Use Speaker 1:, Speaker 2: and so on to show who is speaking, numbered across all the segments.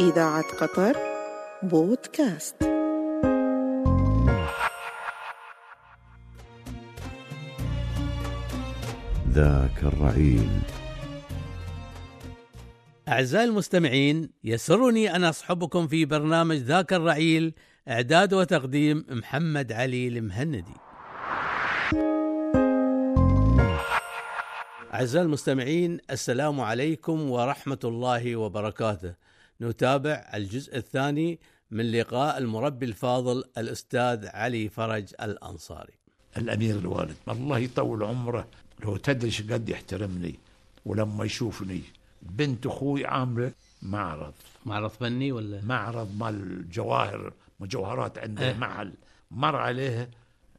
Speaker 1: إذاعة قطر بودكاست
Speaker 2: ذاك الرعيل
Speaker 3: أعزائي المستمعين يسرني أن أصحبكم في برنامج ذاك الرعيل إعداد وتقديم محمد علي المهندي أعزائي المستمعين السلام عليكم ورحمة الله وبركاته نتابع الجزء الثاني من لقاء المربي الفاضل الأستاذ علي فرج الأنصاري
Speaker 4: الامير الوالد الله يطول عمره لو تدري قد يحترمني ولما يشوفني بنت اخوي عامله معرض
Speaker 3: معرض فني ولا
Speaker 4: معرض مال الجواهر مجوهرات عندنا
Speaker 3: إيه.
Speaker 4: معل مر عليها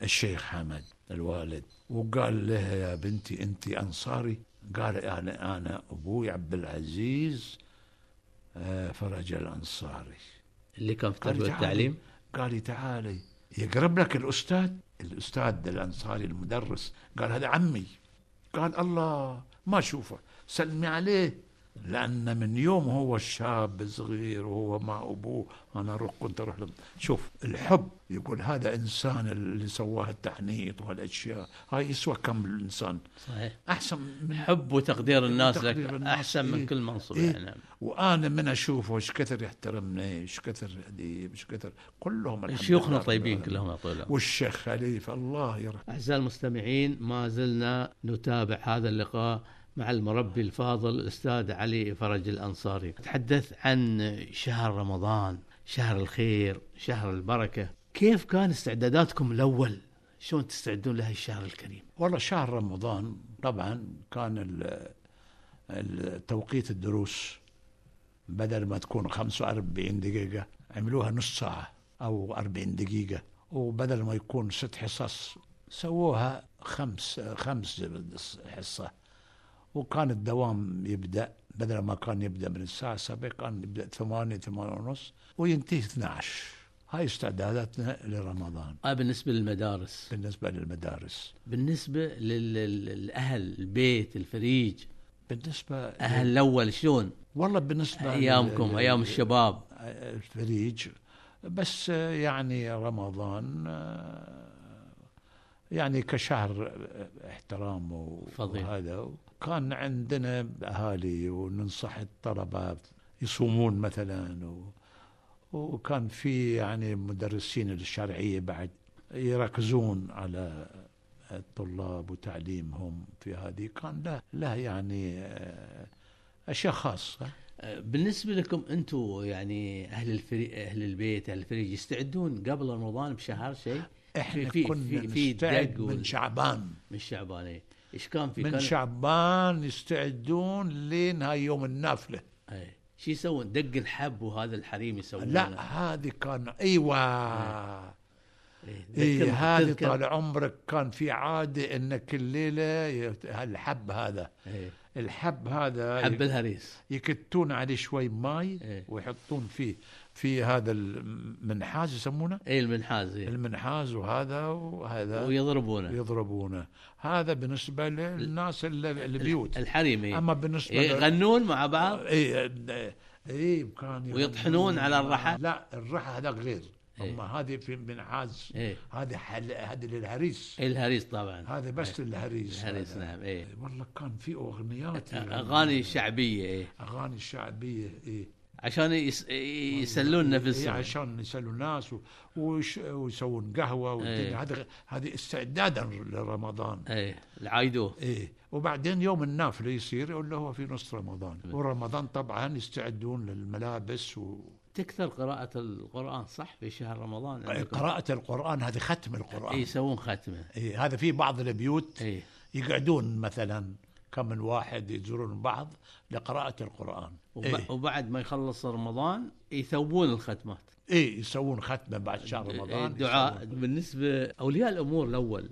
Speaker 4: الشيخ حمد الوالد وقال لها يا بنتي انت انصاري قال انا انا ابوي عبد العزيز آه، فرج الانصاري
Speaker 3: اللي كان في
Speaker 4: قال
Speaker 3: التربية
Speaker 4: تعالي.
Speaker 3: والتعليم
Speaker 4: قال لي تعالي يقرب لك الاستاذ الاستاذ الانصاري المدرس قال هذا عمي قال الله ما اشوفه سلمي عليه لان من يوم هو شاب صغير وهو مع ابوه انا أروح كنت اروح له شوف الحب يقول هذا انسان اللي سواه التحنيط وهالاشياء هاي يسوى كم الانسان
Speaker 3: صحيح
Speaker 4: احسن من
Speaker 3: حب وتقدير الناس لك
Speaker 4: تقدير الناس،
Speaker 3: أحسن من
Speaker 4: إيه.
Speaker 3: كل منصب
Speaker 4: إيه.
Speaker 3: يعني
Speaker 4: وانا من اشوفه ايش كثر يحترمني ايش كثر اديب ايش كثر كلهم الحمد لله
Speaker 3: شيوخنا
Speaker 4: رب
Speaker 3: طيبين
Speaker 4: العالمين.
Speaker 3: كلهم يا طويل العمر.
Speaker 4: والشيخ خليفه الله يرحمه
Speaker 3: أعزائي المستمعين ما زلنا نتابع هذا اللقاء مع المربي الفاضل الأستاذ علي فرج الأنصاري تحدث عن شهر رمضان شهر الخير شهر البركة كيف كان استعداداتكم الأول شلون تستعدون لهالشهر الكريم
Speaker 4: والله شهر رمضان طبعا كان ال- ال- توقيت الدروس بدل ما تكون 45 دقيقة عملوها نص ساعة أو 40 دقيقة وبدل ما يكون ست حصص سووها خمس خمس حصة وكان الدوام يبدأ بدل ما كان يبدأ من الساعة 7 كان يبدأ 8 8 ونص وينتهي 12 هاي استعداداتنا لرمضان
Speaker 3: آه بالنسبة للمدارس
Speaker 4: بالنسبة للمدارس
Speaker 3: بالنسبة لل- لل- للأهل البيت الفريج
Speaker 4: بالنسبة
Speaker 3: أهل الأول شلون
Speaker 4: والله بالنسبة
Speaker 3: أيامكم
Speaker 4: لل-
Speaker 3: أيام الشباب
Speaker 4: الفريج بس يعني رمضان آه، يعني كشهر آه، احترام و-
Speaker 3: فضيلة.
Speaker 4: وهذا كان عندنا أهالي وننصح الطلبة يصومون مثلا و- وكان في يعني مدرسين الشرعية بعد يركزون على الطلاب وتعليمهم في هذه كان له له يعني آه، أشياء خاصة
Speaker 3: بالنسبة لكم أنتم يعني أهل الفري... أهل البيت أهل الفريج يستعدون قبل رمضان بشهر شيء
Speaker 4: احنا
Speaker 3: في-
Speaker 4: في
Speaker 3: في-
Speaker 4: كنا
Speaker 3: في-
Speaker 4: في
Speaker 3: في
Speaker 4: نستعد
Speaker 3: دق وال-
Speaker 4: من شعبان
Speaker 3: من شعبان إيه. إيش كان في
Speaker 4: من
Speaker 3: كان...
Speaker 4: شعبان يستعدون لين هاي يوم النافله
Speaker 3: إيه. شو يسوون دق الحب وهذا الحريم يسوونه
Speaker 4: لا هذه كان ايوه
Speaker 3: إيه.
Speaker 4: اي
Speaker 3: تذكر-
Speaker 4: هذه
Speaker 3: تذكر.
Speaker 4: طال عمرك كان في عاده ان كل ليله يت- هالحب هذا
Speaker 3: إيه.
Speaker 4: الحب هذا
Speaker 3: حب
Speaker 4: يك-
Speaker 3: الهريس
Speaker 4: يكتون عليه شوي ماي
Speaker 3: إيه.
Speaker 4: ويحطون فيه في هذا المنحاز يسمونه
Speaker 3: إيه المنحاز إيه.
Speaker 4: المنحاز وهذا وهذا
Speaker 3: ويضربونه
Speaker 4: يضربونه هذا بالنسبه للناس اللي- البيوت
Speaker 3: الحريم إيه.
Speaker 4: اما بالنسبه لل- إيه،
Speaker 3: يغنون مع بعض
Speaker 4: اي اي كان
Speaker 3: ويطحنون على الرحى؟
Speaker 4: لا الرحى هذا غير
Speaker 3: إيه.
Speaker 4: اما هذه في منعاز
Speaker 3: إيه.
Speaker 4: هذه حل... هذه للهريس
Speaker 3: إيه الهريس طبعا
Speaker 4: هذا بس للهريس
Speaker 3: الهريس
Speaker 4: هذا.
Speaker 3: نعم إيه.
Speaker 4: والله كان في اغنيات
Speaker 3: أغاني شعبية إيه.
Speaker 4: اغاني شعبيه ايه
Speaker 3: عشان يس... يسلون
Speaker 4: إيه
Speaker 3: نفسهم
Speaker 4: عشان يسلوا الناس و... وش... ويسوون قهوه والدنيا. هذا غ- هذه استعدادا لرمضان
Speaker 3: إيه العايدوه
Speaker 4: ايه وبعدين يوم النافله يصير اللي هو في نص رمضان ورمضان طبعا يستعدون للملابس و...
Speaker 3: تكثر قراءة القرآن صح في شهر رمضان عندكم.
Speaker 4: طيب، قراءة القرآن هذه ختم القرآن
Speaker 3: يعني إيه،
Speaker 4: إيه؟
Speaker 3: يسوون ختمة
Speaker 4: إيه هذا في بعض البيوت إيه؟
Speaker 3: إيه
Speaker 4: يقعدون مثلا كم من واحد يزورون بعض لقراءة القرآن
Speaker 3: وب...
Speaker 4: إيه؟
Speaker 3: وبعد ما يخلص رمضان يثوبون الختمات
Speaker 4: إيه يسوون ختمة بعد شهر
Speaker 3: إيه،
Speaker 4: رمضان
Speaker 3: الدعاء
Speaker 4: يسوون.
Speaker 3: بالنسبة أولياء الأمور الأول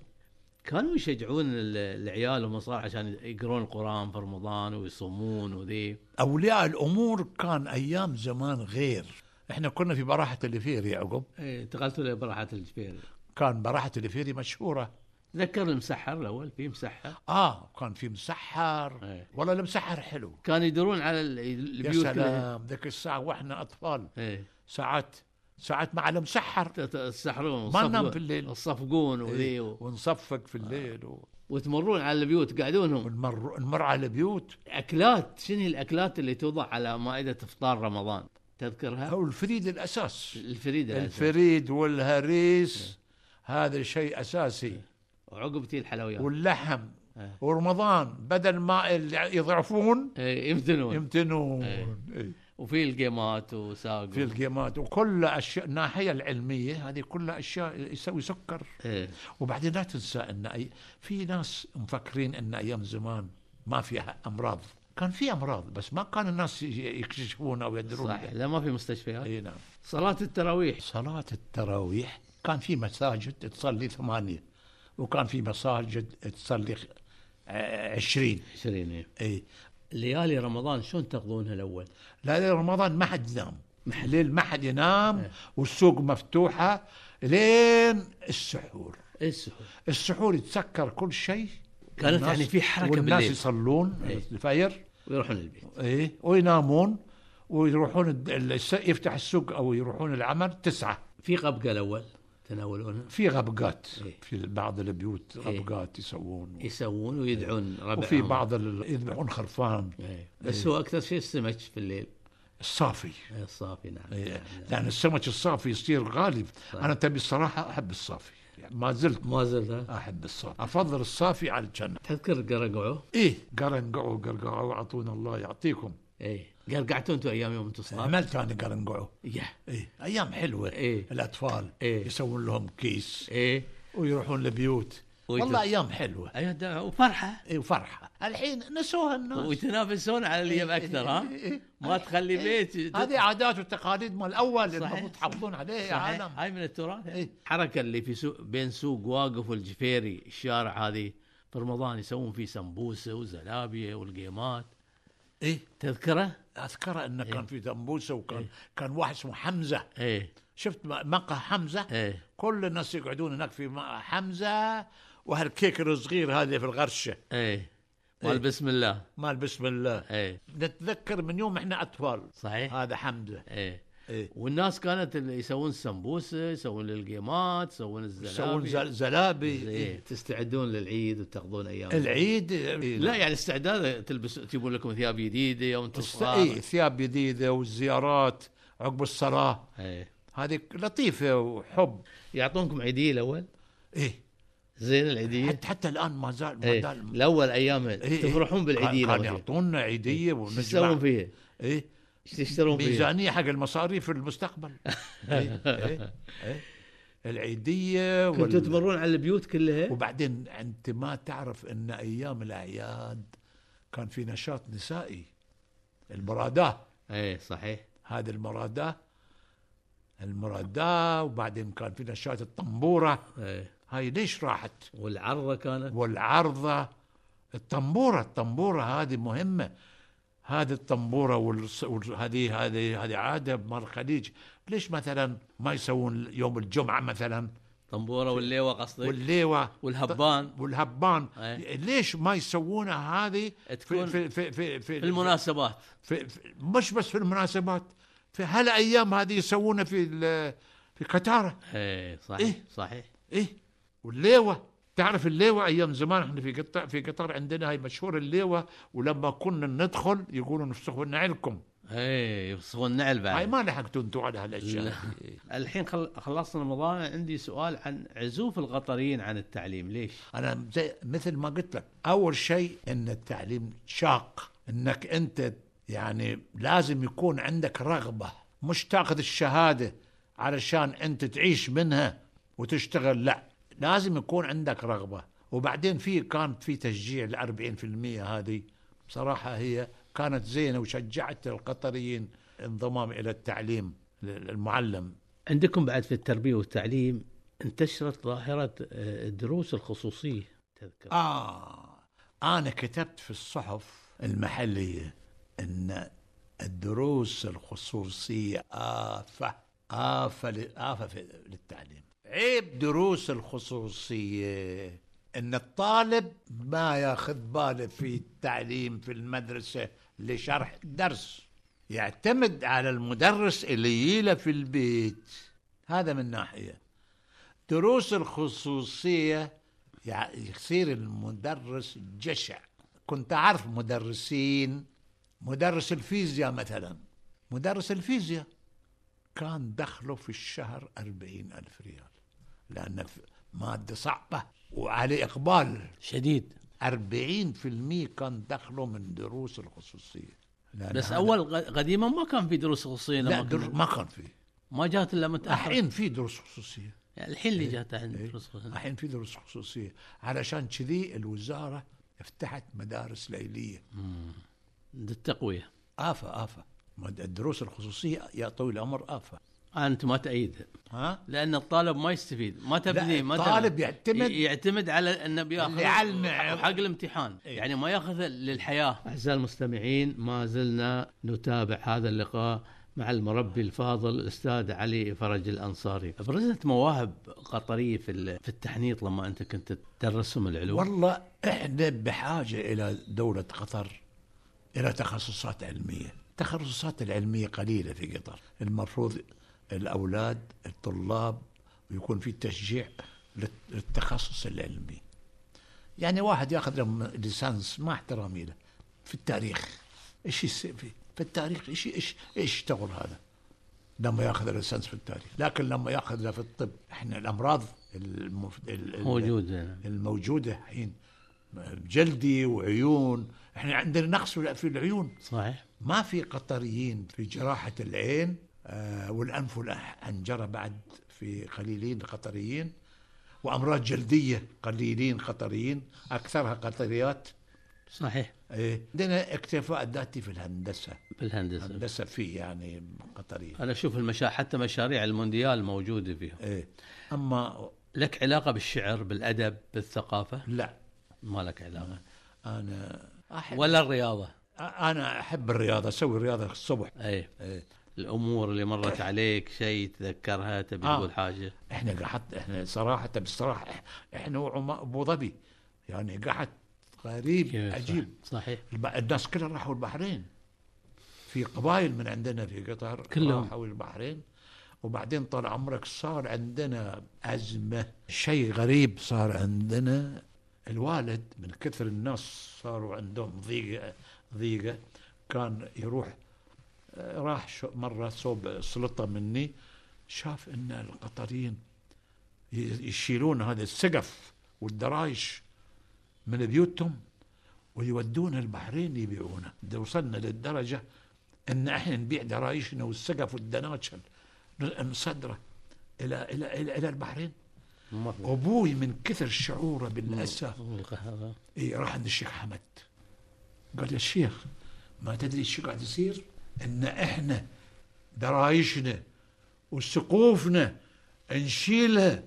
Speaker 3: كانوا يشجعون ال- العيال والمصالح عشان يقرون القرآن في رمضان ويصومون وذي
Speaker 4: أولياء الأمور كان أيام زمان غير إحنا كنا في براحة الإفيري يعقوب
Speaker 3: إيه، انتقلتوا لبراحة الجبيل
Speaker 4: كان براحة الإفيري مشهورة
Speaker 3: تذكر المسحر الاول في مسحر
Speaker 4: اه كان في مسحر
Speaker 3: إيه.
Speaker 4: والله المسحر حلو
Speaker 3: كانوا يدورون على ال-
Speaker 4: يا
Speaker 3: البيوت كلها.
Speaker 4: سلام ذيك الساعه واحنا اطفال
Speaker 3: إيه.
Speaker 4: ساعات ساعات مع المسحر
Speaker 3: ت- ت- تسحرون
Speaker 4: ما ننام
Speaker 3: والصفقون-
Speaker 4: بالليل.
Speaker 3: الصفقون وذي و-
Speaker 4: إيه، ونصفق في الليل و-
Speaker 3: وتمرون على البيوت قاعدونهم
Speaker 4: ونمر نمر على بيوت
Speaker 3: اكلات شنو هي الاكلات اللي توضع على مائده افطار رمضان تذكرها
Speaker 4: او الفريد الاساس
Speaker 3: الفريده الأساسية.
Speaker 4: الفريد
Speaker 3: إيه.
Speaker 4: والهريس هذا شيء اساسي
Speaker 3: وعقب تي الحلويات
Speaker 4: واللحم
Speaker 3: إيه.
Speaker 4: ورمضان بدل ما اللي يضعفون
Speaker 3: إيه، يمتنون
Speaker 4: يمتنون
Speaker 3: إيه.
Speaker 4: إيه.
Speaker 3: وفي الجيمات وساق
Speaker 4: في الجيمات وكل اشياء الناحيه العلميه هذه كلها اشياء يسوي سكر
Speaker 3: إيه.
Speaker 4: وبعدين لا تنسى ان أي في ناس مفكرين ان ايام زمان ما فيها امراض كان في امراض بس ما كان الناس ي- يكتشفون او يدرون
Speaker 3: صح لا ما في مستشفيات
Speaker 4: اي نعم
Speaker 3: صلاه التراويح
Speaker 4: صلاه التراويح كان في مساجد تصلي ثمانيه وكان في مساجد تصلي خ- ع- عشرين
Speaker 3: 20
Speaker 4: اي
Speaker 3: ليالي رمضان شلون تقضونها الاول؟
Speaker 4: لا لا، رمضان ما حد إيه. ينام الليل ما حد ينام والسوق مفتوحه لين السحور
Speaker 3: ايه السحور؟
Speaker 4: السحور يتسكر كل شيء
Speaker 3: كانت
Speaker 4: والناس-
Speaker 3: يعني في حركة
Speaker 4: والناس
Speaker 3: بالليل.
Speaker 4: يصلون
Speaker 3: إيه.
Speaker 4: الفجر
Speaker 3: ويروحون البيت
Speaker 4: ايه وينامون ويروحون الد- الس- يفتح السوق او يروحون العمل تسعة
Speaker 3: في قبقه الاول تناولونها
Speaker 4: في غبقات
Speaker 3: إيه.
Speaker 4: في بعض البيوت غبقات يسوون
Speaker 3: يسوون ويدعون ربعهم
Speaker 4: إيه. وفي بعض ال- يذبحون خرفان
Speaker 3: إيه. بس هو اكثر شيء السمك في الليل
Speaker 4: الصافي
Speaker 3: إيه، الصافي نعم
Speaker 4: إيه.
Speaker 3: نعم.
Speaker 4: لان السمك الصافي يصير غالي انا تبي الصراحه احب الصافي يعني ما زلت
Speaker 3: ما زلت ها؟
Speaker 4: احب الصافي افضل الصافي على الجنه
Speaker 3: تذكر قرقعوه؟
Speaker 4: ايه قرنقعوا قرقعوا اعطونا الله يعطيكم
Speaker 3: ايه قرقعتوا انتم ايام يوم انتم صغار؟
Speaker 4: عملت انا قرنقعوا
Speaker 3: يا
Speaker 4: ايه ايام حلوه
Speaker 3: إيه.
Speaker 4: الاطفال
Speaker 3: إيه.
Speaker 4: يسوون لهم كيس
Speaker 3: ايه
Speaker 4: ويروحون لبيوت
Speaker 3: ويت-
Speaker 4: والله ايام حلوه
Speaker 3: ايوه ده- وفرحه
Speaker 4: ايه وفرحه الحين نسوها الناس
Speaker 3: ويتنافسون على اللي يبقى اكثر
Speaker 4: إيه،
Speaker 3: ها؟
Speaker 4: إيه.
Speaker 3: ما تخلي بيت
Speaker 4: هذه عادات وتقاليد مال الاول
Speaker 3: صحيح.
Speaker 4: المفروض تحافظون عليها يا
Speaker 3: صحيح.
Speaker 4: عالم
Speaker 3: هاي من التراث
Speaker 4: إيه.
Speaker 3: الحركه اللي في سوق بين سوق واقف والجفيري الشارع هذه في رمضان يسوون فيه سمبوسه وزلابيه والقيمات إيه.
Speaker 4: ايه
Speaker 3: تذكره؟
Speaker 4: اذكر انه
Speaker 3: إيه.
Speaker 4: كان في دمبوسه وكان كان واحد اسمه حمزه
Speaker 3: ايه
Speaker 4: شفت م- مقهى حمزه
Speaker 3: ايه
Speaker 4: كل الناس يقعدون هناك في مقهى حمزه وهالكيك الصغير هذا في الغرشه
Speaker 3: ايه مال
Speaker 4: إيه.
Speaker 3: بسم الله
Speaker 4: مال بسم الله
Speaker 3: ايه
Speaker 4: نتذكر من يوم احنا اطفال
Speaker 3: صحيح
Speaker 4: هذا حمزه
Speaker 3: ايه
Speaker 4: ايه
Speaker 3: والناس كانت اللي يسوون السمبوسه يسوون القيمات يسوون
Speaker 4: يسوون
Speaker 3: الزلابيه
Speaker 4: زل- زلابي
Speaker 3: ايه تستعدون للعيد وتقضون ايام
Speaker 4: إيه. العيد إيه،
Speaker 3: لا يعني استعداد تلبس تجيبون لكم ثياب جديده يوم انتم
Speaker 4: الس-
Speaker 3: صغار
Speaker 4: إيه ثياب جديده والزيارات عقب الصلاه
Speaker 3: ايه
Speaker 4: هذه لطيفه وحب
Speaker 3: يعطونكم عيديه الاول
Speaker 4: ايه
Speaker 3: زين العيديه
Speaker 4: حتى, حتى الان ما زال ما
Speaker 3: ايه
Speaker 4: زال
Speaker 3: الاول ايامها
Speaker 4: إيه، إيه.
Speaker 3: تفرحون بالعيديه
Speaker 4: كان- كان
Speaker 3: لو شيء.
Speaker 4: يعطونا عيديه
Speaker 3: شو تسوون
Speaker 4: ونجمع
Speaker 3: فيها؟
Speaker 4: ايه
Speaker 3: شو تشترون فيها؟
Speaker 4: ميزانيه حق المصاريف في المستقبل إيه إيه إيه العيديه
Speaker 3: كنتوا
Speaker 4: وال...
Speaker 3: تمرون على البيوت كلها؟
Speaker 4: وبعدين انت ما تعرف ان ايام الاعياد كان في نشاط نسائي المراداه
Speaker 3: ايه صحيح
Speaker 4: هذه المراداه المراداه وبعدين كان في نشاط الطنبوره
Speaker 3: ايه
Speaker 4: هاي ليش راحت
Speaker 3: والعرضه كانت
Speaker 4: والعرضه الطنبوره الطنبوره هذه مهمه هذه الطنبوره والص- وهذه هذه هذه عاده مال الخليج ليش مثلا ما يسوون يوم الجمعه مثلا
Speaker 3: طنبوره والليوه قصدك
Speaker 4: والليوه
Speaker 3: والهبان
Speaker 4: والهبان
Speaker 3: إيه.
Speaker 4: ليش ما يسوونها هذه
Speaker 3: تكون
Speaker 4: في في في في, في,
Speaker 3: في المناسبات
Speaker 4: في في مش بس في المناسبات في هالايام هذه يسوونها في ال- في كتاره
Speaker 3: ايه صحيح
Speaker 4: إيه.
Speaker 3: صحيح
Speaker 4: ايه والليوه تعرف الليوه ايام زمان احنا في قطر في قطر عندنا هاي مشهور الليوه ولما كنا ندخل يقولوا نفسخوا نعلكم
Speaker 3: ايه يصغون نعل
Speaker 4: هاي
Speaker 3: بعد
Speaker 4: ما لحقتوا انتوا على هالاشياء
Speaker 3: الحين خل- خلصنا رمضان عندي سؤال عن عزوف القطريين عن التعليم ليش؟
Speaker 4: انا زي مثل ما قلت لك اول شيء ان التعليم شاق انك انت يعني لازم يكون عندك رغبه مش تاخذ الشهاده علشان انت تعيش منها وتشتغل لا لازم يكون عندك رغبه وبعدين في كانت في تشجيع ل 40% هذه بصراحه هي كانت زينه وشجعت القطريين انضمام الى التعليم المعلم
Speaker 3: عندكم بعد في التربيه والتعليم انتشرت ظاهره آه، الدروس الخصوصيه تذكر
Speaker 4: آه أنا كتبت في الصحف المحلية أن الدروس الخصوصية آفة آفة ل- آفة في- للتعليم عيب دروس الخصوصية ان الطالب ما ياخذ باله في التعليم في المدرسه لشرح الدرس يعتمد على المدرس اللي يجيله في البيت هذا من ناحيه دروس الخصوصيه يع- يصير المدرس جشع كنت اعرف مدرسين مدرس الفيزياء مثلا مدرس الفيزياء كان دخله في الشهر أربعين ألف ريال لأن ف- مادة صعبة وعلى إقبال
Speaker 5: شديد
Speaker 4: أربعين في المية كان دخله من دروس الخصوصية لأن
Speaker 5: بس
Speaker 4: هذا-
Speaker 5: اول غ- قديما ما كان في دروس خصوصيه
Speaker 4: لا
Speaker 5: لما
Speaker 4: در...
Speaker 5: كنا-
Speaker 4: ما كان فيه
Speaker 5: ما جات الا متاخر
Speaker 4: الحين في دروس خصوصية
Speaker 5: يعني الحين اللي جات عندنا
Speaker 4: إيه.
Speaker 5: دروس خصوصيه
Speaker 4: الحين في دروس خصوصية علشان كذي الوزارة فتحت مدارس ليلية
Speaker 5: للتقويه
Speaker 4: آفة آفة مد- الدروس الخصوصية يا طويل العمر آفة
Speaker 3: انت ما تأيدها
Speaker 4: ها
Speaker 5: لان الطالب ما يستفيد ما تبني ما تبني.
Speaker 4: الطالب يعتمد-
Speaker 5: يعتمد على انه بياخذ
Speaker 4: اللي علمه.
Speaker 5: حق الامتحان
Speaker 4: إيه.
Speaker 5: يعني ما ياخذ للحياه
Speaker 3: أعزائي المستمعين ما زلنا نتابع هذا اللقاء مع المربي الفاضل الأستاذ علي فرج الأنصاري برزت مواهب قطرية في ال- في التحنيط لما أنت كنت تدرسهم العلوم
Speaker 4: والله احنا بحاجه الى دوله قطر الى تخصصات علميه، التخصصات العلميه قليله في قطر، المفروض الاولاد الطلاب ويكون في تشجيع للت- للتخصص العلمي. يعني واحد ياخذ له ليسانس مع احترامي له في التاريخ ايش يصير في في التاريخ ايش ايش ايش يشتغل هذا؟ لما ياخذ ليسانس في التاريخ، لكن لما ياخذ له في الطب احنا الامراض المف... ال- ال-
Speaker 3: موجود يعني.
Speaker 4: الموجوده الحين جلدي وعيون احنا عندنا نقص في في العيون
Speaker 3: صحيح
Speaker 4: ما في قطريين في جراحه العين آه، والانف والحنجره بعد في قليلين قطريين وامراض جلديه قليلين قطريين اكثرها قطريات
Speaker 3: صحيح
Speaker 4: إيه. عندنا اكتفاء ذاتي في الهندسه
Speaker 3: في الهندسة
Speaker 4: الهندسه في يعني قطريه
Speaker 3: أنا أشوف المشا... حتى مشاريع المونديال موجودة فيهم
Speaker 4: إيه. اما
Speaker 3: لك علاقة بالشعر بالأدب بالثقافة
Speaker 4: لا
Speaker 3: ما لك علاقة
Speaker 4: انا احب
Speaker 3: ولا الرياضة
Speaker 4: انا احب الرياضه اسوي الرياضه الصبح
Speaker 3: أي
Speaker 4: إيه.
Speaker 3: الأمور اللي مرت عليك شيء تذكرها تبي
Speaker 4: آه.
Speaker 3: تقول حاجة
Speaker 4: احنا قحط احنا صراحه بالصراحه إح- احنا وعم- ابو ظبي يعني قحط غريب
Speaker 3: كيف؟
Speaker 4: عجيب
Speaker 3: صحيح
Speaker 4: الب- الناس كلها راحوا البحرين في قبائل من عندنا في قطر
Speaker 3: كلهم.
Speaker 4: راحوا البحرين وبعدين طال عمرك صار عندنا ازمه شيء غريب صار عندنا الوالد من كثر الناس صاروا عندهم ضيقه ضيقه كان يروح راح شو- مرة صوب سلطة مني شاف ان القطريين ي- يشيلون هذا السقف والدرايش من بيوتهم ويودون البحرين يبيعونه ده وصلنا للدرجة ان احنا نبيع درايشنا والسقف والدناتشل ن- نصدره الى الى الى, إلى البحرين ابوي من كثر شعوره بالاسى
Speaker 3: والقهوة.
Speaker 4: إيه راح عند الشيخ حمد قال يا شيخ ما تدري شو قاعد يصير ان احنا درايشنا وسقوفنا نشيلها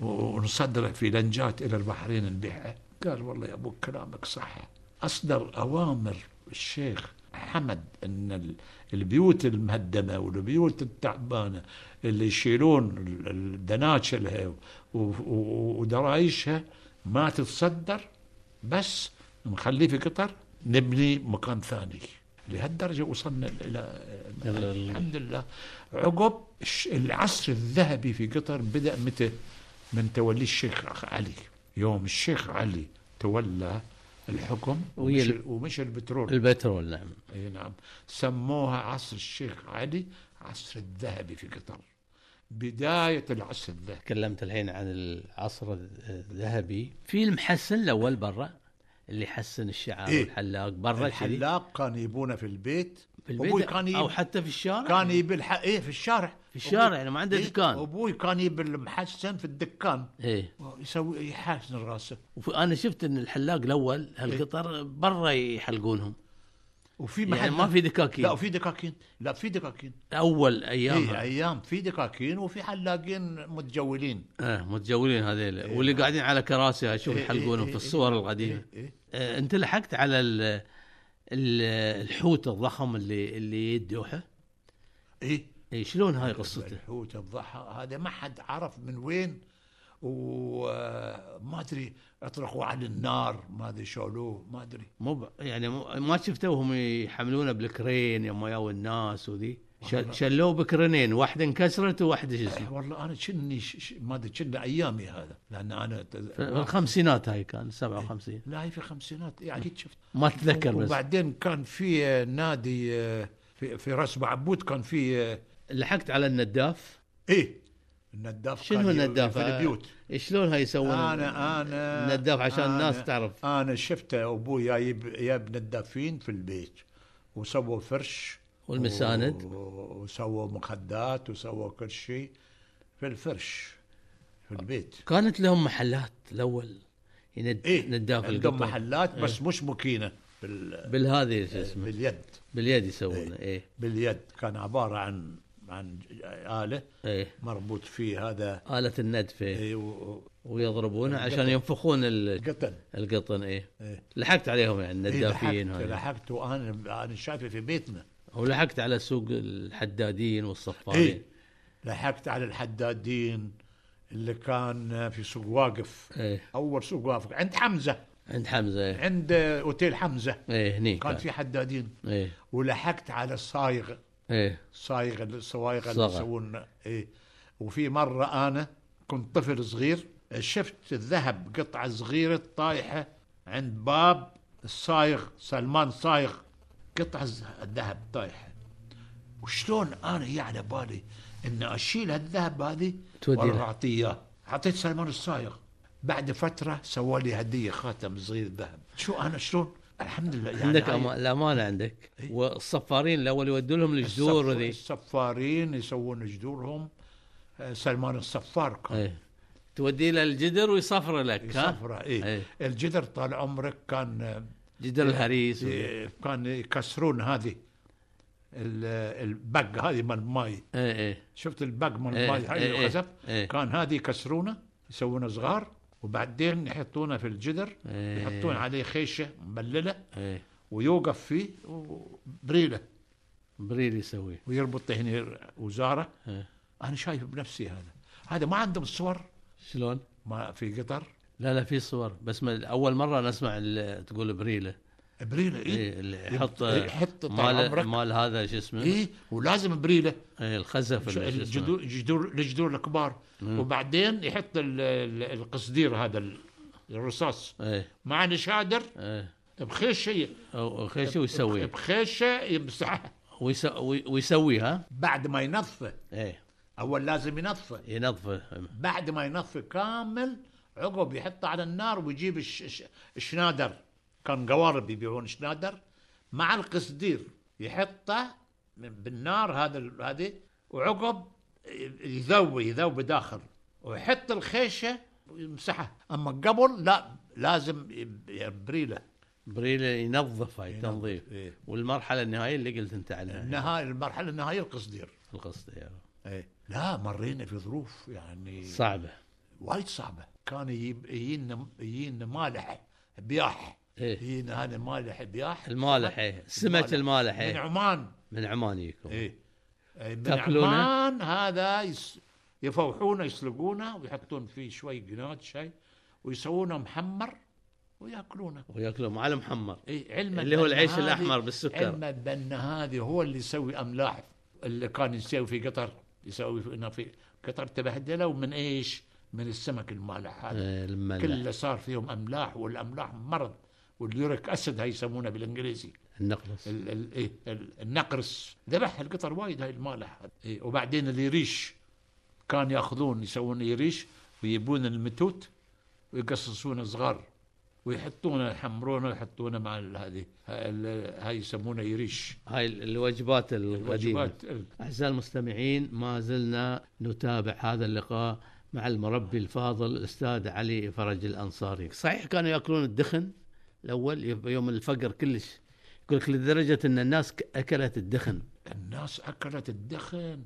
Speaker 4: و- ونصدره في لنجات الى البحرين نبيعها قال والله يا ابوك كلامك صح اصدر اوامر الشيخ حمد ان ال- البيوت المهدمه والبيوت التعبانه اللي يشيلون ال- ال- دناشلها و- و- ودرايشها ما تتصدر بس نخليه في قطر نبني مكان ثاني لهالدرجه وصلنا الى
Speaker 3: يلا.
Speaker 4: الحمد لله عقب الش- العصر الذهبي في قطر بدا متى؟ من تولي الشيخ علي يوم الشيخ علي تولى الحكم
Speaker 3: ويا
Speaker 4: ومشى,
Speaker 3: ال-
Speaker 4: ومشى البترول
Speaker 3: البترول نعم
Speaker 4: اي نعم سموها عصر الشيخ علي عصر الذهبي في قطر بدايه العصر الذهبي
Speaker 3: تكلمت الحين عن العصر الذهبي في المحسن الاول برا اللي يحسن الشعر
Speaker 4: إيه.
Speaker 3: والحلاق برا كذي
Speaker 4: الحلاق كان يبونه في البيت
Speaker 3: في
Speaker 4: ابوي
Speaker 3: البيت
Speaker 4: كان يب...
Speaker 3: او حتى في الشارع
Speaker 4: كان يب الح... إيه في الشارع
Speaker 3: في الشارع
Speaker 4: أبوي-
Speaker 3: يعني ما عنده
Speaker 4: إيه،
Speaker 3: دكان.
Speaker 4: ابوي كان يب المحسن في الدكان
Speaker 3: ايه
Speaker 4: يسوي يحاسن راسه
Speaker 3: وانا شفت ان الحلاق الاول
Speaker 4: إيه.
Speaker 3: هالقطر برا يحلقونهم
Speaker 4: وفي محل
Speaker 3: يعني ما في دكاكين
Speaker 4: لا إيه، وفي دكاكين لا في دكاكين
Speaker 3: اول
Speaker 4: اي
Speaker 3: ايامها
Speaker 4: ايام في دكاكين وفي حلاقين متجولين
Speaker 3: آه متجولين هذيل واللي قاعدين على كراسي اشوف
Speaker 4: إيه،
Speaker 3: يحلقونهم
Speaker 4: إيه،
Speaker 3: في
Speaker 4: إيه،
Speaker 3: الصور القديمه
Speaker 4: إيه، إيه.
Speaker 3: آه انت لحقت على ال- ال- الحوت الضخم اللي اللي يدوحه
Speaker 4: ايه
Speaker 3: إيه شلون هاي قصته
Speaker 4: الحوت الضحى هذا ما حد عرف من وين وما ادري اطرقوا على النار ما ادري شعلوه ما ادري
Speaker 3: مو ب- يعني مو- ما شفتوهم يحملونه بالكرين يوم ياو الناس وذي ش- شلوه بكرنين واحده انكسرت وواحده شو
Speaker 4: إيه
Speaker 3: اسمه
Speaker 4: والله انا شني ش- ش- ما ادري شني ايامي هذا لان انا
Speaker 3: في الخمسينات هاي كان 57
Speaker 4: لا هي في الخمسينات يعني أكيد شفت
Speaker 3: ما أتذكر بس.
Speaker 4: وبعدين كان في آه، نادي آه، في في راس معبود كان في آه،
Speaker 3: لحقت على النداف
Speaker 4: ايه النداف
Speaker 3: إيه. شنو
Speaker 4: كان ي-
Speaker 3: النداف؟
Speaker 4: في البيوت
Speaker 3: إيه، شلون هاي يسوون
Speaker 4: انا انا
Speaker 3: النداف عشان
Speaker 4: أنا-
Speaker 3: الناس تعرف
Speaker 4: انا شفت ابوي جايب جايب ندافين في البيت وسووا فرش
Speaker 3: والمساند.
Speaker 4: و- وسووا مخدات وسووا كل شيء في الفرش في البيت
Speaker 3: كانت لهم محلات الاول يند...
Speaker 4: ايه
Speaker 3: نداف
Speaker 4: عندهم
Speaker 3: القطن.
Speaker 4: محلات بس مش مكينه بال...
Speaker 3: بالهذه شو إيه. اسمه
Speaker 4: باليد
Speaker 3: باليد يسوونه ايه
Speaker 4: باليد كان عباره عن عن اله
Speaker 3: ايه
Speaker 4: مربوط فيه هذا
Speaker 3: آلة الندف إيه.
Speaker 4: إيه، يعني و-
Speaker 3: ويضربونه عشان
Speaker 4: القطن.
Speaker 3: ينفخون ال-
Speaker 4: وقطن
Speaker 3: القطن ايه
Speaker 4: إيه.
Speaker 3: لحقت عليهم يعني
Speaker 4: إيه،
Speaker 3: الندافين
Speaker 4: لحقت-
Speaker 3: هاي.
Speaker 4: لحقت وانا انا شايفه في بيتنا
Speaker 3: ولحقت على سوق الحدادين والصفارين
Speaker 4: اي
Speaker 3: ايه.
Speaker 4: إيه، لحقت على الحدادين اللي كان في سوق واقف
Speaker 3: إيه.
Speaker 4: اول سوق واقف عند حمزه
Speaker 3: عند حمزه ايه,
Speaker 4: عند اوتيل حمزه
Speaker 3: ايه هني
Speaker 4: إيه. كان في حدادين
Speaker 3: ايه
Speaker 4: ولحقت على الصايغ
Speaker 3: ايه
Speaker 4: صايغ الصوايغ اللي
Speaker 3: صغر.
Speaker 4: يسوون ايه وفي مره انا كنت طفل صغير شفت الذهب قطعه صغيره طايحه عند باب الصايغ سلمان صايغ قطعه ز- ذهب طايحه وشلون يعني انا يا على بالي ان اشيل هالذهب هذه
Speaker 3: تودي له.
Speaker 4: واروح اعطيه إياه. اعطيت سلمان الصايغ بعد فتره سوى لي هديه خاتم صغير ذهب شو انا شلون الحمد لله يعني
Speaker 3: عندك
Speaker 4: هاي- إيه.
Speaker 3: أما... الامانه عندك والصفارين الاول يودوا لهم الجذور
Speaker 4: الصف-
Speaker 3: وذي
Speaker 4: الصفارين يسوون جدورهم آه، سلمان الصفار كان
Speaker 3: ايه
Speaker 5: تودي له الجدر ويصفر لك ها
Speaker 4: صفرة إيه.
Speaker 3: إيه.
Speaker 4: الجدر طال عمرك كان آه،
Speaker 3: جدر الهريس وذي.
Speaker 4: آه، كان يكسرون هذه ال- البق هذه مال الماي
Speaker 3: ايه ايه
Speaker 4: شفت البق مال
Speaker 3: إيه،
Speaker 4: الماي هاي
Speaker 3: إيه،
Speaker 4: اللي خزف
Speaker 3: إيه.
Speaker 4: كان هذه يكسرونه يسوونه صغار وبعدين يحطونه في الجدر
Speaker 3: إيه.
Speaker 4: يحطون عليه خيشه مبلله
Speaker 3: ايه
Speaker 4: ويوقف فيه وبريله
Speaker 3: بريل يسويه
Speaker 4: ويربط هنا وزاره
Speaker 3: إيه.
Speaker 4: انا شايف بنفسي هذا هذا ما عندهم صور
Speaker 3: شلون؟
Speaker 4: ما في قطر
Speaker 3: لا لا في صور بس ما اول مره نسمع ال- تقول بريله
Speaker 4: بريله
Speaker 3: ايه
Speaker 4: اي
Speaker 3: اللي يحط
Speaker 4: إيه، يحط طال
Speaker 3: مال
Speaker 4: عمرك. إيه؟
Speaker 3: مال هذا شو اسمه
Speaker 4: اي ولازم بريله
Speaker 3: ايه الخزف
Speaker 4: ش-
Speaker 3: ولا شو اسمه.
Speaker 4: الجذور الجذور الجذور الكبار
Speaker 3: نعم.
Speaker 4: وبعدين يحط ال- ال- القصدير هذا ال- الرصاص
Speaker 3: ايه
Speaker 4: مع نشادر
Speaker 3: ايه
Speaker 4: بخيشه
Speaker 3: او خيشي ويسويه
Speaker 4: بخيشه يمسحها
Speaker 3: ويسو- وي- ويسويها
Speaker 4: بعد ما ينظفه
Speaker 3: ايه
Speaker 4: اول لازم ينظفه
Speaker 3: ينظفه
Speaker 4: بعد ما ينظفه كامل عقب يحطه على النار ويجيب الش- الش- الشنادر كان قوارب يبيعون شنادر مع القصدير يحطه من- بالنار هذا ال- هذه وعقب يذوي يذوي داخل ويحط الخيشه ويمسحها اما قبل لا لازم يب- يبريله
Speaker 3: بريله ينظف هاي
Speaker 4: ينظف،
Speaker 3: تنظيف
Speaker 4: إيه. نعم.
Speaker 3: والمرحله النهائيه اللي قلت انت عنها
Speaker 4: النهايه المرحله النهائيه القصدير
Speaker 3: القصد يعني.
Speaker 4: لا مرينا في ظروف يعني
Speaker 3: صعبه
Speaker 4: وايد صعبه كان يجيب يجينا يجينا مالح بياح
Speaker 3: إيه.
Speaker 4: يجينا هذا مالح بياح
Speaker 3: المالح ايه سمك المالح
Speaker 4: من
Speaker 3: ايه
Speaker 4: عمان
Speaker 3: من عمان يجيكم
Speaker 4: ايه إيه، من
Speaker 3: تاكلونه؟
Speaker 4: عمان هذا يس يفوحونه يسلقونه ويحطون فيه شوي قناج شاي ويسوونه محمر وياكلونه
Speaker 3: وياكلهم على محمر
Speaker 4: إيه علما
Speaker 3: اللي هو
Speaker 4: بأن
Speaker 3: العيش
Speaker 4: هذه-
Speaker 3: الأحمر بالسكر.
Speaker 4: علما بان هذه هو اللي يسوي املاح اللي كان يسوي في قطر يسوي في- هنا في قطر تبهدلوا من ايش؟ من السمك المالح هذا
Speaker 3: إيه، لما
Speaker 4: كله صار فيهم املاح والاملاح مرض واليوريك اسيد هاي يسمونه بالانجليزي
Speaker 3: النقلص
Speaker 4: ال ال إيه ال النقرس ذبح القطر وايد هاي المالح إيه وبعدين اليريش كان ياخذون يسوون يريش ويجيبون المتوت ويقصصونه صغار ويحطونه يحمرونه ويحطونه مع ال- هذه ها- ال- هاي يسمونه يريش
Speaker 3: هاي ال- الوجبات القديمه
Speaker 4: الوجبات ال-
Speaker 3: أعزائي المستمعين ما زلنا نتابع هذا اللقاء مع المربي الفاضل الأستاذ علي فرج الأنصاري صحيح كانوا يأكلون الدخن الأول يف- يوم الفقر كلش يقول لك لدرجة أن الناس ك- أكلت الدخن
Speaker 4: الناس اكلت الدخن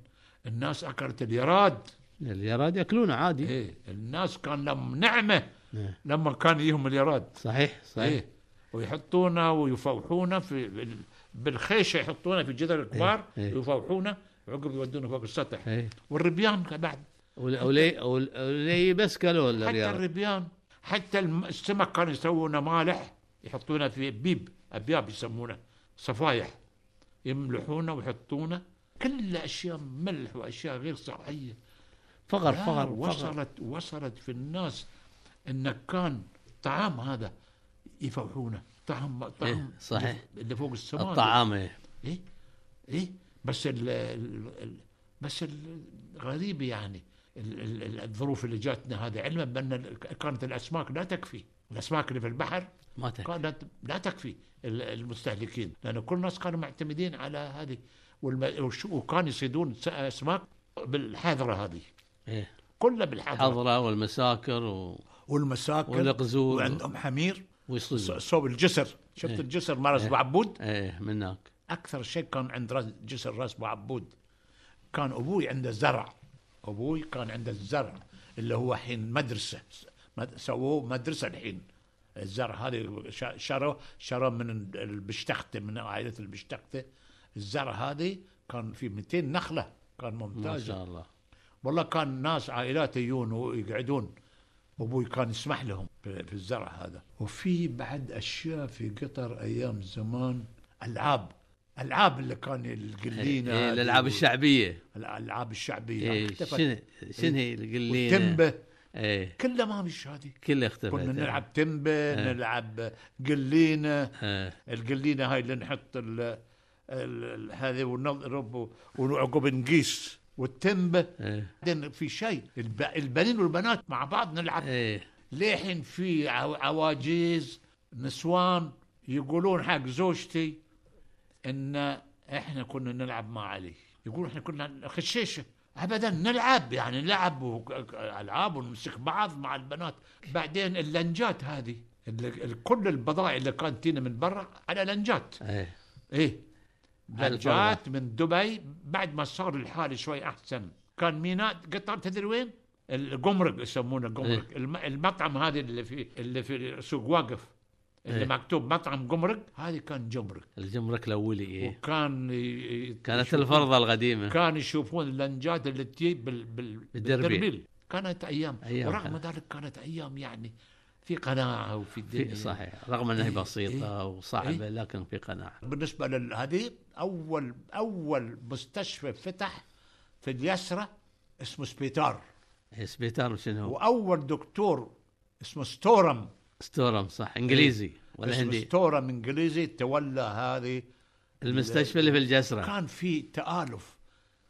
Speaker 4: الناس اكلت اليراد
Speaker 3: اليراد يأكلونه عادي
Speaker 4: إيه الناس كان لهم نعمه
Speaker 3: إيه.
Speaker 4: لما كان يجيهم اليراد
Speaker 3: صحيح صحيح
Speaker 4: ايه ويحطونه ويفوحونه في بال- بالخيشه يحطونه في الجدر الكبار
Speaker 3: إيه، إيه.
Speaker 4: ويفوحونه عقب يودونه فوق السطح
Speaker 3: إيه.
Speaker 4: والربيان بعد
Speaker 3: ولي ولي, ولي بس كلوا
Speaker 4: حتى
Speaker 3: الرياض
Speaker 4: الربيان حتى الم- السمك كانوا يسوونه مالح يحطونه في بيب ابياب يسمونه صفايح يملحونه ويحطونه كل اشياء ملح واشياء غير صحيه
Speaker 3: فقر
Speaker 4: لا،
Speaker 3: فقر فقر
Speaker 4: وصلت وصلت في الناس ان كان طعام هذا يفوحونه طعام طعام
Speaker 3: إيه، صحيح.
Speaker 4: اللي فوق السماء
Speaker 3: الطعام إيه.
Speaker 4: ايه ايه بس ال ال- ال- بس الغريب يعني ال- ال- ال- الظروف اللي جاتنا هذه علما بان ال- كانت الاسماك لا تكفي الاسماك اللي في البحر
Speaker 3: ما تك-
Speaker 4: كانت لا تكفي ال- المستهلكين لان كل الناس كانوا معتمدين على هذه والم- والش- وكانوا يصيدون س- اسماك بالحاذره هذه
Speaker 3: إيه.
Speaker 4: كلها بالحاذره
Speaker 3: حضرة والمساكر و...
Speaker 4: والمساكن
Speaker 3: والقزور.
Speaker 4: وعندهم حمير س-
Speaker 3: ويصيدون
Speaker 4: صوب الجسر شفت
Speaker 3: إيه.
Speaker 4: الجسر مال
Speaker 3: إيه.
Speaker 4: ابو عبود
Speaker 3: ايه من هناك
Speaker 4: اكثر شيء كان عند راس جسر راس ابو عبود كان ابوي عنده زرع ابوي كان عنده الزرع اللي هو حين مدرسه مد- سووه مدرسه الحين الزرع هذه شا- شروه شروه من البشتخته من عائله البشتخته الزرع هذه كان في 200 نخله كان
Speaker 3: ما
Speaker 4: ممتاز
Speaker 3: شاء الله
Speaker 4: والله كان ناس عائلات يجون ويقعدون ابوي كان يسمح لهم في في الزرع هذا وفي بعد اشياء في قطر ايام زمان العاب العاب اللي كان القلينه
Speaker 3: إيه
Speaker 4: هذه
Speaker 3: الالعاب
Speaker 4: و-
Speaker 3: الشعبيه
Speaker 4: الالعاب الشعبيه
Speaker 3: إيه
Speaker 4: اختفت.
Speaker 3: شنو شنو هي القلينه
Speaker 4: تمبه
Speaker 3: ايه
Speaker 4: كلها ما مش هذه
Speaker 3: كلها اختفت إيه.
Speaker 4: كنا نلعب تمبه نلعب قلينه
Speaker 3: إيه.
Speaker 4: القلينه هاي اللي نحط ال ال- هذه ونضرب و- وعقب نقيس والتمبه
Speaker 3: إيه.
Speaker 4: بعدين في شيء الب... البنين والبنات مع بعض نلعب
Speaker 3: ايه
Speaker 4: ليحين في عو- عواجيز نسوان يقولون حق زوجتي ان احنا كنا نلعب مع علي يقولون احنا كنا خشيشه ابدا نلعب يعني نلعب وك- العاب ونمسك بعض مع البنات بعدين اللنجات هذه ال- ال- كل البضائع اللي كانت تينا من برا على لنجات
Speaker 3: ايه
Speaker 4: ايه
Speaker 3: على
Speaker 4: لجات من دبي بعد ما صار الحال شوي احسن كان ميناء قطر تدري وين؟ القمرق يسمونه قمرق
Speaker 3: إيه.
Speaker 4: الم- المطعم هذا اللي في اللي في سوق واقف اللي
Speaker 3: إيه.
Speaker 4: مكتوب مطعم قمرق هذا كان جمرك
Speaker 3: الجمرك الاولي ايه
Speaker 4: وكان ي- ي-
Speaker 3: كانت
Speaker 4: يشوفون-
Speaker 3: الفرضه القديمه
Speaker 4: كان يشوفون اللنجات اللي تجي بال بال
Speaker 3: بالدربيل.
Speaker 4: كانت ايام,
Speaker 3: أيام
Speaker 4: ورغم
Speaker 3: كانت.
Speaker 4: ذلك كانت ايام يعني في قناعه وفي الدنيا
Speaker 3: في صحيح رغم انها
Speaker 4: إيه،
Speaker 3: بسيطه
Speaker 4: إيه،
Speaker 3: وصعبه لكن في قناعه
Speaker 4: بالنسبه لهذه اول اول مستشفى فتح في اليسرى اسمه سبيتار
Speaker 3: إيه، سبيتار شنو هو؟
Speaker 4: واول دكتور اسمه ستورم
Speaker 3: ستورم صح انجليزي ولا
Speaker 4: اسمه
Speaker 3: هندي
Speaker 4: إيه. ستورم انجليزي تولى هذه
Speaker 3: المستشفى اللي في الجسره
Speaker 4: كان في تالف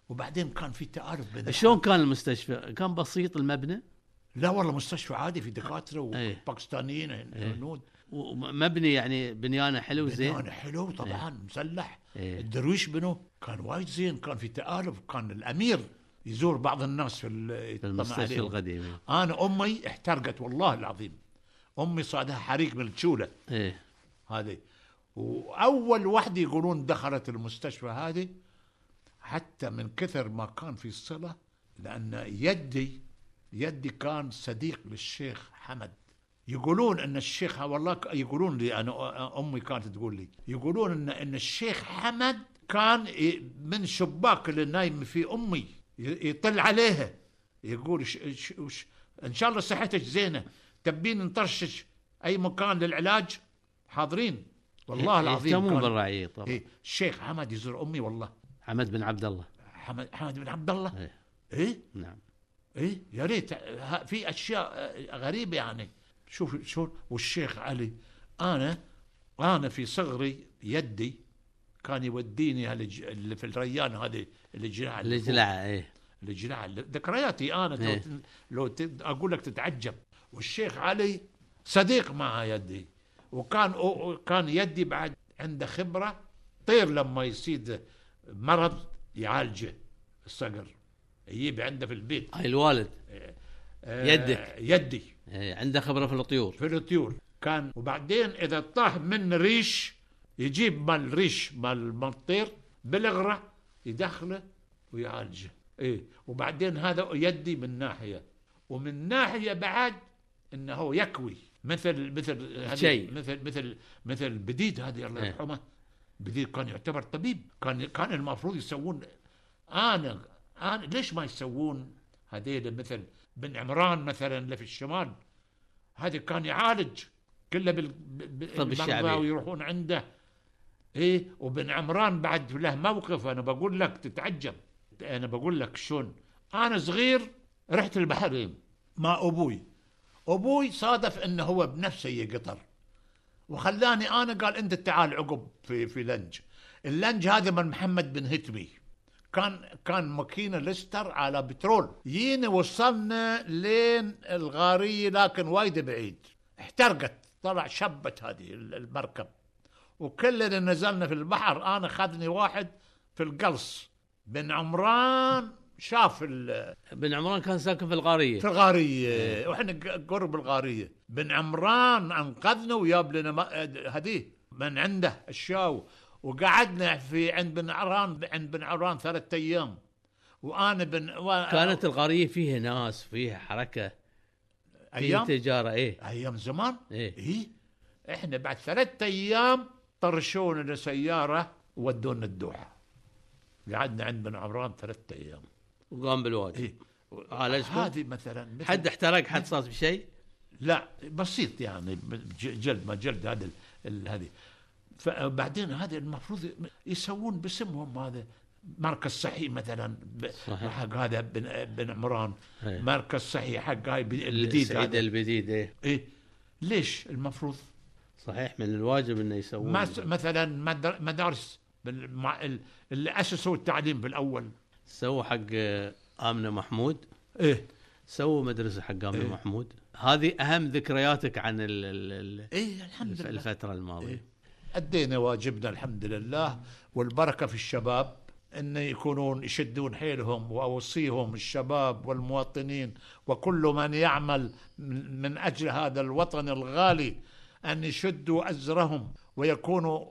Speaker 4: وبعدين كان في تالف بين
Speaker 3: شلون كان المستشفى؟ كان بسيط المبنى
Speaker 4: لا والله مستشفى عادي في دكاتره
Speaker 3: إيه.
Speaker 4: وباكستانيين هنود
Speaker 3: ومبني يعني بنيانه حلو
Speaker 4: بنيان
Speaker 3: زين
Speaker 4: حلو طبعا مسلح
Speaker 3: إيه.
Speaker 4: الدرويش بنو كان وايد زين كان في تالف كان الامير يزور بعض الناس في ال-
Speaker 3: في
Speaker 4: يطمع
Speaker 3: المستشفى
Speaker 4: عليهم.
Speaker 3: القديم
Speaker 4: انا امي احترقت والله العظيم امي صادها حريق من الشوله
Speaker 3: ايه
Speaker 4: هذه واول وحده يقولون دخلت المستشفى هذه حتى من كثر ما كان في صله لان يدي يدي كان صديق للشيخ حمد يقولون ان الشيخ والله ك- يقولون لي انا أ- امي كانت تقول لي يقولون ان ان الشيخ حمد كان ي- من شباك اللي نايم في امي ي- يطل عليها يقول ش ش ش ان شاء الله صحتك زينه تبين نطرشك اي مكان للعلاج حاضرين والله العظيم
Speaker 3: إيه، يهتمون
Speaker 4: كان-
Speaker 3: بالرعيه طبعا
Speaker 4: إيه الشيخ حمد يزور امي والله
Speaker 3: حمد بن عبد الله
Speaker 4: حمد حمد بن عبد الله
Speaker 3: ايه
Speaker 4: ايه
Speaker 3: نعم
Speaker 4: ايه يا ريت ها- في اشياء آه، غريبه يعني شوف شلون والشيخ علي انا انا في صغري يدي كان يوديني هالج... اللي في الريان هذه الجلاعه اللي فوق.
Speaker 3: الجلعه ايه
Speaker 4: الجلاعه اللي- ذكرياتي انا لو,
Speaker 3: إيه.
Speaker 4: تن- لو تن- اقول لك تتعجب والشيخ علي صديق مع يدي وكان أو- أو- كان يدي بعد عنده خبره طير لما يصيد مرض يعالجه الصقر يجيب عنده في البيت
Speaker 3: هاي الوالد
Speaker 4: آه،
Speaker 3: يدك.
Speaker 4: يدي
Speaker 3: إيه، عنده خبره في الطيور
Speaker 4: في الطيور كان وبعدين اذا طاح من ريش يجيب مال ريش مال مال الطير بالغره يدخله ويعالجه ايه وبعدين هذا يدي من ناحيه ومن ناحيه بعد انه هو يكوي مثل مثل هذه-
Speaker 3: شيء.
Speaker 4: مثل مثل مثل بديد هذه الله
Speaker 3: إيه.
Speaker 4: يرحمه بديد كان يعتبر طبيب كان كان المفروض يسوون انا انا ليش ما يسوون هذيل مثل بن عمران مثلا اللي في الشمال هذا كان يعالج كله بال
Speaker 6: طب الشعبي.
Speaker 4: بالمرضى ويروحون عنده ايه وبن عمران بعد له موقف انا بقول لك تتعجب انا بقول لك شلون انا صغير رحت البحرين مع ابوي ابوي صادف انه هو بنفسه يجي قطر وخلاني انا قال انت تعال عقب في في لنج اللنج هذا من محمد بن هتمي كان كان ماكينه لستر على بترول جينا وصلنا لين الغاريه لكن وايد بعيد احترقت طلع شبت هذه المركب وكلنا نزلنا في البحر انا خذني واحد في القلص بن عمران شاف ال-
Speaker 3: بن عمران كان ساكن في الغاريه
Speaker 4: في الغارية واحنا ق- قرب الغارية بن عمران انقذنا وياب لنا ما- هديه من عنده الشاو وقعدنا في عند بن عمران عند بن عمران ثلاثة ايام وانا بن و...
Speaker 3: كانت الغاريه فيها ناس فيها حركه فيها
Speaker 4: ايام
Speaker 3: تجاره ايه
Speaker 4: ايام زمان
Speaker 3: إيه.
Speaker 4: إيه؟ احنا بعد ثلاثة ايام طرشونا لسيارة ودونا الدوحة قعدنا عند بن عمران ثلاثة ايام
Speaker 3: وقام بالواجب
Speaker 4: إيه.
Speaker 3: عالجكم؟
Speaker 4: هذه مثلا مثل-
Speaker 3: حد احترق حد صار بشيء
Speaker 4: لا بسيط يعني ج- جلد ما جلد هذا ال- ال- هذه فبعدين هذا المفروض يسوون باسمهم هذا مركز صحي مثلا ب-
Speaker 3: صحيح.
Speaker 4: حق هذا بن بن عمران
Speaker 3: أي.
Speaker 4: مركز صحي حق هاي ب- الجديد
Speaker 3: السعيد
Speaker 4: هذا.
Speaker 3: البديد ايه
Speaker 4: إيه ليش المفروض
Speaker 3: صحيح من الواجب انه يسوون
Speaker 4: مس- مثلا مدر- مدارس بال- مع ال- اللي اسسوا التعليم بالاول
Speaker 3: سووا حق آه، امنه محمود
Speaker 4: ايه
Speaker 3: سووا مدرسه حق امنه
Speaker 4: إيه.
Speaker 3: محمود هذه اهم ذكرياتك عن ال ال ال
Speaker 4: ايه الحمد لله
Speaker 3: الفتره الماضيه
Speaker 4: إيه. أدينا واجبنا الحمد لله والبركة في الشباب أن يكونون يشدون حيلهم وأوصيهم الشباب والمواطنين وكل من يعمل من من أجل هذا الوطن الغالي أن يشدوا أزرهم ويكونوا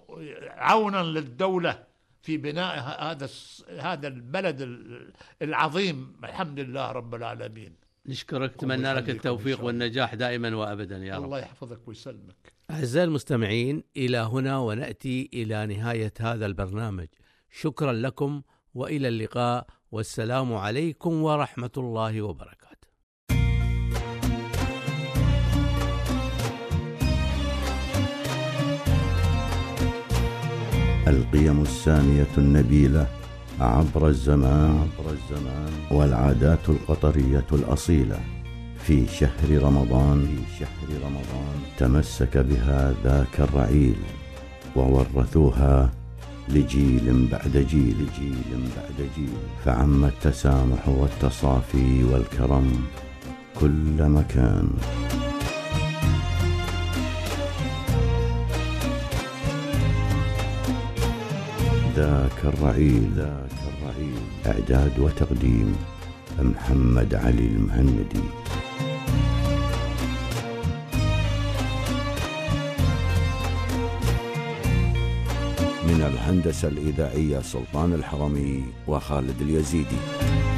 Speaker 4: عونا للدولة في بناء ه- هذا الس- هذا البلد ال- العظيم الحمد لله رب العالمين
Speaker 3: نشكرك اتمنى لك
Speaker 4: يخليكم إن شاء
Speaker 3: التوفيق
Speaker 4: الله.
Speaker 3: والنجاح دائما وابدا يا رب
Speaker 4: الله يحفظك ويسلمك
Speaker 3: أعزائي المستمعين إلى هنا ونأتي إلى نهاية هذا البرنامج شكرا لكم وإلى اللقاء والسلام عليكم ورحمة الله وبركاته
Speaker 2: القيم السامية النبيلة عبر الزمان عبر الزمان والعادات القطرية الأصيلة في شهر رمضان في شهر رمضان تمسك بها ذاك الرعيل وورثوها لجيل بعد جيل جيل بعد جيل فعم التسامح والتصافي والكرم كل مكان ذاك الرعيل ذاك الرعيل إعداد وتقديم محمد علي المهندي من الهندسة الإذاعية سلطان الحرمي وخالد اليزيدي